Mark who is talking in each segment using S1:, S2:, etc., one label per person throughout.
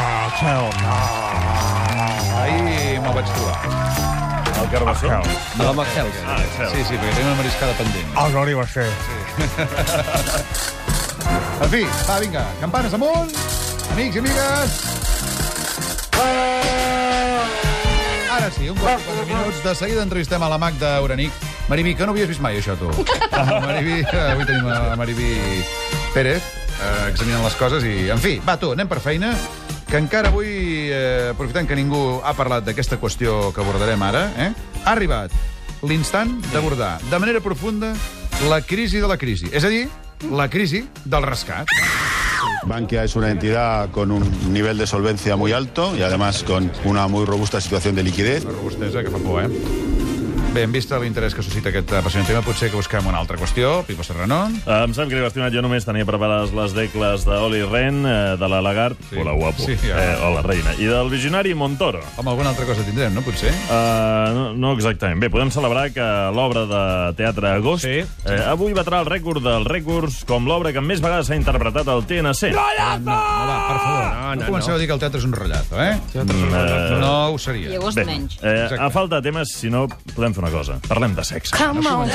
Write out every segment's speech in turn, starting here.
S1: Carbassel. No.
S2: Ahir me'l vaig trobar.
S3: El Carbassó?
S2: No, amb el Celsa.
S3: Ah, el Celsa.
S2: Sí, sí, perquè tenim una mariscada pendent.
S1: El Nori Ah, va ser.
S2: En fi, va, vinga, campanes amunt, amics i amigues. Ara sí, un quart i quatre minuts. De seguida entrevistem a la Magda Oranic. Mariví, que no havies vist mai, això, tu. Mariví, eh, avui tenim a Mariví Pérez eh, examinant les coses i... En fi, va, tu, anem per feina, que encara avui, eh, aprofitant que ningú ha parlat d'aquesta qüestió que abordarem ara, eh, ha arribat l'instant d'abordar de manera profunda la crisi de la crisi. És a dir, la crisi del rescat.
S4: Bankia es una entidad con un nivel de solvencia muy alto y además con una muy robusta situación de liquidez.
S2: Robustesa, que fa por, eh? Bé, en vista de l'interès que suscita aquest apassionant tema, potser que busquem una altra qüestió. Pipo Serranon.
S3: Eh, Em sap greu, estimat, jo només tenia preparades les decles d'Oli Ren, eh, de la Lagarde,
S2: Sí.
S3: hola guapo,
S2: Sí, ja.
S3: eh, hola reina, i del visionari Montoro.
S2: Home, alguna altra cosa tindrem, no? Potser.
S3: Uh, no, no exactament. Bé, podem celebrar que l'obra de teatre Agost
S1: Sí.
S3: eh, avui batrà el rècord dels rècords com l'obra que més vegades s'ha interpretat al TNC.
S1: Per favor.
S2: No, no comenceu a dir que el teatre és un rotllazo, eh?
S3: Mm,
S2: No ho seria.
S5: I agost
S3: Bé,
S5: menys.
S3: eh,
S2: Exacte.
S3: a falta de temes, si no, podem fer una cosa. Parlem de sexe.
S5: Come on.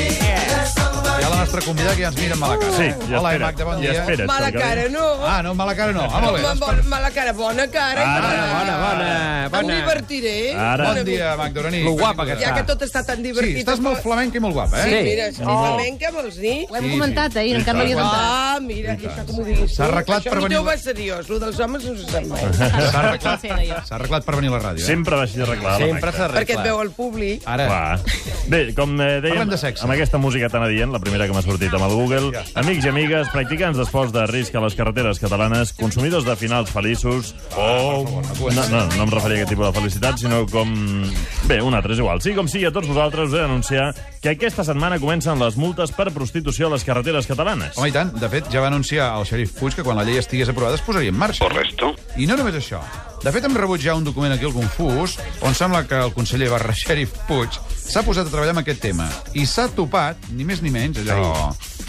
S2: Hi ha la nostra convidada que ja ens mira amb mala cara.
S3: Sí, i
S2: Hola,
S3: espera't,
S2: Magda, bon
S3: i
S2: dia.
S3: espera't,
S6: Mala
S3: perquè-
S6: cara, no.
S2: Ah, no, amb mala cara no. Ah, molt bé.
S6: Ma-
S2: Doncs
S6: bon- Mala cara, bona cara.
S7: Bona, bona,
S6: Em
S7: bona.
S8: eh?
S6: divertiré.
S3: Ara.
S2: Bon dia, Magda Oranic.
S7: Lo guapa que
S6: Ja
S7: està.
S6: que tot està tan
S2: Sí,
S6: divertit.
S2: estàs molt flamenca i molt guapa,
S6: Sí,
S2: eh?
S7: Sí.
S6: mira, si oh. flamenca, vols dir?
S5: Ho hem
S2: Sí,
S5: comentat ahir, encara no havia d'entrar.
S6: Ah, mira, i això com ho diguis.
S8: eh?
S2: S'ha arreglat
S6: això
S2: per venir-
S6: Això va seriós, lo dels homes no se sap mai.
S2: S'ha arreglat,
S5: Sincera, jo.
S2: s'ha arreglat per venir a la ràdio. Eh?
S3: Sempre va així arreglada la
S7: Sempre
S3: Magda.
S7: s'arregla.
S6: Perquè et veu el públic.
S7: Eh.
S2: Ara,
S3: Clar. Bé, com eh, dèiem,
S2: Parlem de sexe.
S3: amb aquesta música tan adient, la primera que m'ha sortit amb el Google, amics i amigues, practicants d'esports de risc a les carreteres catalanes, consumidors de finals feliços,
S7: Oh.
S3: o... No, no, no em referia a aquest tipus de felicitat, sinó com... Bé, un altre, és igual. Sí, com sigui, a tots vosaltres us he d'anunciar que aquesta setmana comencen les multes per prostitució a les carreteres catalanes.
S2: Home, i tant. De fet, ja va anunciar el xerif Puig que quan la llei estigués aprovada es posaria en marxa. Correcto. I no només això. De fet, hem rebut ja un document aquí al Confús on sembla que el conseller barra xerif Puig s'ha posat a treballar amb aquest tema i s'ha topat, ni més ni menys, allò...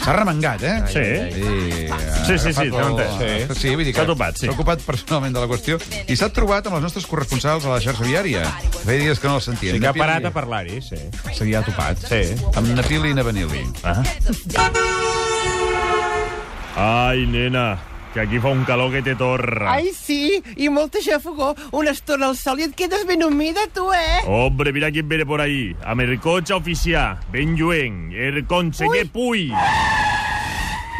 S2: S'ha remengat, eh?
S3: Sí.
S2: Sí,
S3: Sí, sí, sí,
S2: agafat
S3: t'he entès.
S2: el- Sí, vull dir que
S3: S'ha topat, sí.
S2: s'ha ocupat personalment de la qüestió i s'ha trobat amb els nostres corresponsals a la xarxa viària. Feia dies que no els sentien.
S7: Sí que ha
S2: Napili-
S7: parat a parlar-hi, sí.
S2: S'havia topat.
S7: Sí.
S2: Amb Napili i Navanili.
S3: Ah. Ai, nena, que aquí fa un calor que te
S2: Ah.
S3: torra.
S8: Ai, sí, i molta xafogó. Una estona al sol i et quedes ben humida, tu, eh?
S3: Hombre, mira quién viene por ahí. A Mercocha oficial, Ben Yuen, el conseller Puy.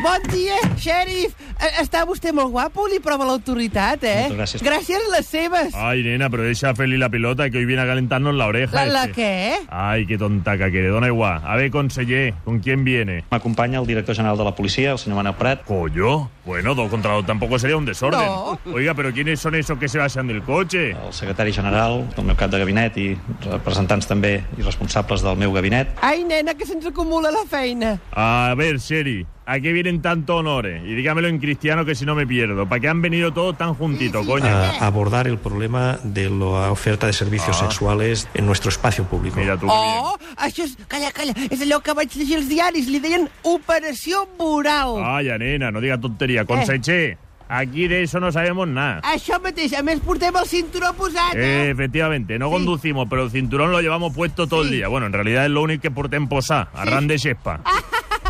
S8: Bon dia, xèrif. E- Està vostè molt guapo, li prova l'autoritat, eh? Gràcies. Gràcies les seves.
S2: Ah,
S3: Ay, nena, pero deja feliz la pelota que hoy viene a calentarnos la oreja.
S8: La, la
S3: este.
S8: què?
S3: Ay, qué tontaca que le dona igual. A ver, conseller, ¿con quién viene?
S9: M'acompanya el director general de la policia, el senyor Manel Prat.
S3: ¿Coyo? Bueno, dos contra dos tampoco sería un desorden.
S8: No.
S3: Oiga, pero ¿quiénes son esos que se bajan del coche?
S9: el secretari general, el meu cap de gabinet i representants també i responsables del meu gabinet.
S8: Ai, nena, que se'ns acumula la feina.
S3: A ver, Sherry, ¿a qué vienen tantos honores? Y dígamelo en cristiano que si no me pierdo. ¿Para qué han venido todos tan juntitos, coño?
S8: Ah.
S10: a abordar el problema de la oferta de servicios
S9: Ah.
S10: sexuales en nuestro espacio público.
S3: Mira tú. qué bien.
S8: Oh, això és... Calla, calla, és allò que vaig llegir als diaris. Li deien Operació Moral.
S3: Vaya, nena, no digas tontería. Conseche, aquí de eso no sabemos nada.
S8: Això mateix, a més portem el cinturó posat,
S3: Eh,
S8: eh?
S3: efectivamente, no conducimos, pero el cinturón lo llevamos puesto todo el día. Bueno, en realidad es lo único que porté posá, a ran de xespa.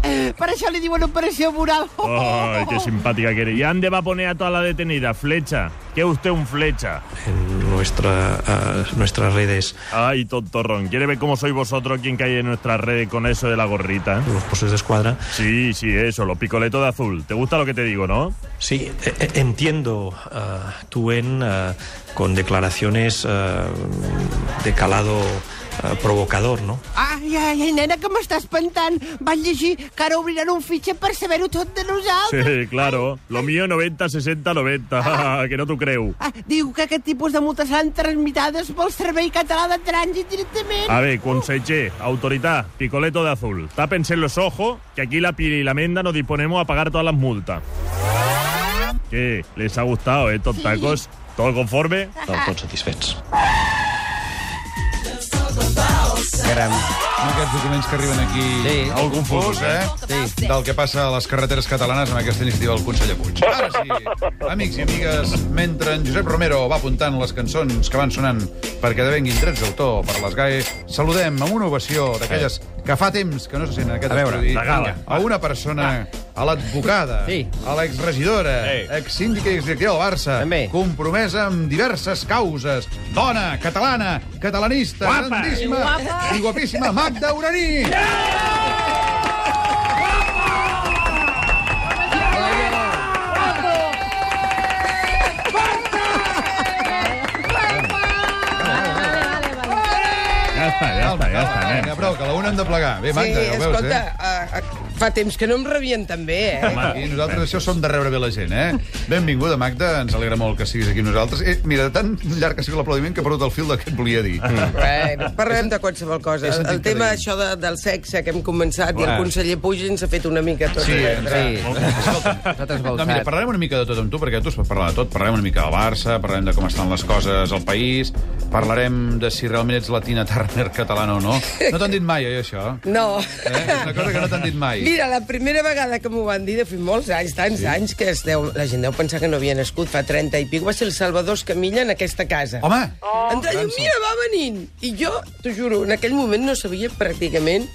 S8: eh? Per això li diuen Operació Moral. Ah,
S3: Ay,
S8: oh.
S3: qué simpática que eres. ¿Y a dónde va a poner a toda la detenida? Flecha. Que usted un flecha.
S10: En nuestra, ah, nuestras redes,
S3: Ay, tontorrón. ¿Quiere ver cómo sois vosotros quien cae en nuestras redes con eso de la gorrita?
S10: los poses de escuadra.
S3: Sí, sí, eso, los picoletos de azul. ¿Te gusta lo que te digo, no?
S10: Sí, eh, eh, entiendo, ah, tú en ah, con declaraciones ah, de calado ah, provocador, ¿no?
S8: Ai, ai, ai, nena, que m'està espantant. Vaig llegir que ara obriran un fitxer per saber-ho tot de nosaltres.
S3: Sí, claro. Lo mío 90, 60, 90. que no tú creo.
S8: Ah, diu que aquest tipus de multes seran tramitades pel Servei Català de Trànsit directament.
S3: A ver, conseche, autoridad, picoleto de azul. Tápense los ojos, que aquí la pili y la menda nos disponemos a pagar todas las multas. ¿Qué? ¿Les ha gustado estos tacos? ¿Todo conforme?
S9: Del tot satisfets.
S7: Caram.
S2: no, aquests documents que arriben aquí
S1: Sí.
S2: al confús, eh?
S1: Sí.
S2: Del que passa a les carreteres catalanes amb aquesta iniciativa del conseller Puig. Ara sí, amics i amigues, mentre en Josep Romero va apuntant les cançons que van sonant perquè devenguin drets d'autor per les GAE, saludem amb una ovació d'aquelles que fa temps que no se sent en aquest
S7: A veure,
S2: estudi.
S7: de gala.
S2: Vinga, A una persona, a l'advocada,
S1: Sí.
S2: a l'exregidora,
S7: Ei.
S2: exsíndica i exdirectiva del Barça,
S1: També.
S2: compromesa amb diverses causes, dona, catalana, catalanista,
S7: Guapa.
S2: grandíssima i, guapa. i guapíssima Magda Uraní.
S3: Ja està, ja està, ja està,
S2: Calma,
S3: nens.
S2: prou, que a la una hem de plegar. Bé, Magda,
S6: sí,
S2: ja ho veus,
S6: escolta,
S2: eh?
S6: eh? fa temps que no em rebien tan bé, eh?
S3: Home.
S2: I nosaltres això som de rebre bé la gent, eh? Benvinguda, Magda, ens alegra molt que siguis aquí amb nosaltres. Eh, mira, tan llarg que sigui l'aplaudiment que he perdut el fil de què et volia dir.
S6: Mm. Bueno, parlem de qualsevol cosa.
S2: He
S6: El,
S2: sentit
S6: el
S2: que
S6: tema
S2: deia.
S6: això de, del sexe que hem començat i
S2: Ah.
S6: el conseller Puig ens ha fet una mica tot.
S2: Sí,
S6: eh?
S2: ens ha-
S1: Sí. Nosaltres
S2: No, mira, parlarem una mica de tot amb tu, perquè tu es pot parlar de tot. Parlarem una mica del Barça, parlarem de com estan les coses al país, parlarem de si realment ets latina Turner catalana o no. No t'han dit mai, eh, això?
S6: No.
S2: Eh? És una cosa que no t'han dit mai.
S6: Mira, la primera vegada que m'ho van dir, de fet molts anys, tants sí. anys, que es deu, la gent deu pensar que no havia nascut fa 30 i pico, va ser el Salvador Escamilla en aquesta casa.
S2: Home!
S6: Oh, Entra i diu, mira, va venint. I jo, t'ho juro, en aquell moment no sabia pràcticament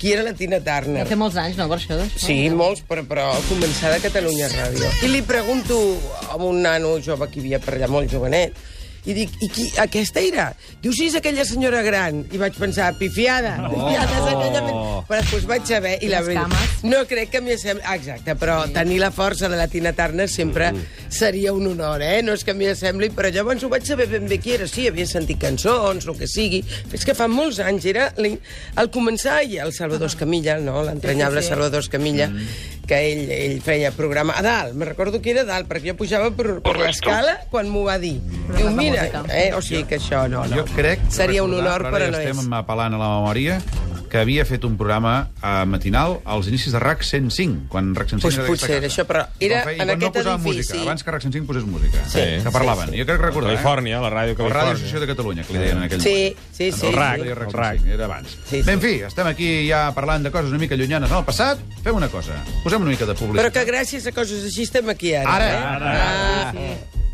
S6: qui era la Tina Turner.
S5: Té molts anys, no, per això? Doncs?
S6: Sí, molts, però, però començada a Catalunya Ràdio. I li pregunto a un nano jove que hi havia per allà, molt jovenet, i dic, i qui, aquesta era? Diu, sí, és aquella senyora gran. I vaig pensar, pifiada. Oh. pifiada és aquella... Però després vaig saber... I la
S5: Les
S6: ve-
S5: cames.
S6: No crec que m'hi assembli... Ah, Exacte, però tenir la força de la Tina Turner sempre
S2: Mm.
S6: seria un honor, eh? No és que m'hi assembli, però llavors ho vaig saber ben bé qui era. Sí, havia sentit cançons, el que sigui. És que fa molts anys era... l'in- Al començar, i el Salvador Escamilla, no? l'entranyable
S5: Sí, sí, sí.
S6: Salvador Escamilla,
S2: Mm.
S6: que ell, ell feia programa a dalt. Me recordo que era a dalt, perquè jo pujava per, per l'escala quan m'ho va dir. Diu,
S5: de
S6: mira...
S5: música.
S6: Eh? O sigui que això, no, no.
S2: Mm. Jo crec... que
S6: Seria un
S2: recordar,
S6: honor,
S2: ara
S6: però
S2: ja
S6: no és.
S2: estem apel·lant a la memòria que havia fet un programa eh, matinal als inicis de RAC 105, quan RAC 105
S6: Pues
S2: era d'aquesta
S6: potser era
S2: casa.
S6: això, però era
S2: quan feia- quan
S6: en
S2: no
S6: aquest
S2: posava
S6: edifici.
S2: Música, abans que RAC 105 posés música,
S7: Sí.
S2: que parlaven. Jo crec recordar, eh?
S7: Califòrnia, la ràdio
S2: La Ràdio
S7: Califòrnia.
S2: Associació de Catalunya, que li deien en aquell
S6: Sí,
S2: moment.
S6: sí, sí.
S2: El RAC,
S6: sí.
S2: el RAC,
S7: El RAC.
S2: sí, era abans.
S6: Sí, sí.
S2: Bé, en fi, estem aquí ja parlant de coses una mica llunyanes en el passat. Fem una cosa, posem una mica de
S6: Però
S2: publicitat.
S6: que gràcies a coses així estem aquí ara.
S2: Ara,
S6: eh?
S2: ara.
S6: Ah,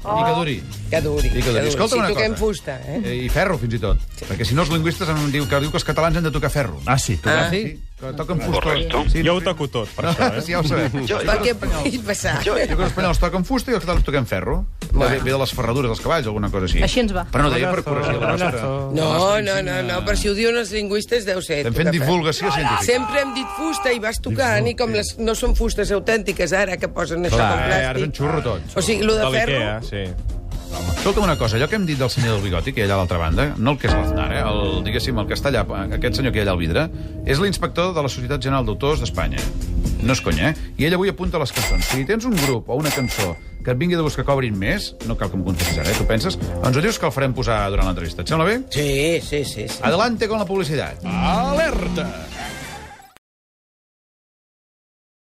S2: I que duri.
S6: Que duri.
S2: I que duri. Escolta
S6: si
S2: una
S6: toquem
S2: cosa.
S6: fusta, eh?
S2: Eh, I ferro, fins i tot. Perquè si no, els lingüistes em diu que, diu que els catalans han de tocar ferro.
S3: Ah, sí, tu. Ah.
S2: sí? Que toquen fusta.
S4: Correcto.
S2: Sí,
S7: Jo ho toco tot, per
S2: No,
S7: això, eh?
S2: sí, ja ho sabem. Jo,
S6: Per què pugui passar?
S2: jo eh. crec que els espanyols toquen fusta i els catalans toquen ferro. Bueno. Ve, ve de les ferradures dels cavalls, alguna cosa així.
S5: Així ens va.
S2: Però no deia per corregir la nostra...
S6: No, no, no, no, per si ho diuen els lingüistes deu ser.
S2: Estem fent
S6: tocar ferro.
S2: divulgació científica.
S6: Sempre hem dit fusta i vas tocant, i com les, no són fustes autèntiques ara que posen això
S2: Clar,
S6: com
S2: eh, ara és un
S6: plàstic...
S2: xurro tot.
S6: O sigui, lo de
S7: De
S6: ferro...
S7: l'Ikea, sí.
S2: Escolta'm una cosa, allò que hem dit del senyor del bigoti, que hi ha allà a l'altra banda, no el que és l'Aznar, eh? el, diguéssim, el que està allà, aquest senyor que hi ha allà al vidre, és l'inspector de la Societat General d'Autors d'Espanya. No és conya, eh? I ell avui apunta les cançons. Si tens un grup o una cançó que et vingui de los que cobrin més, no cal que m'ho contestis ara, eh? tu penses, ens ho dius que el farem posar durant l'entrevista. Et sembla bé?
S6: Sí, sí, sí. sí.
S2: Adelante con la publicitat. Alerta!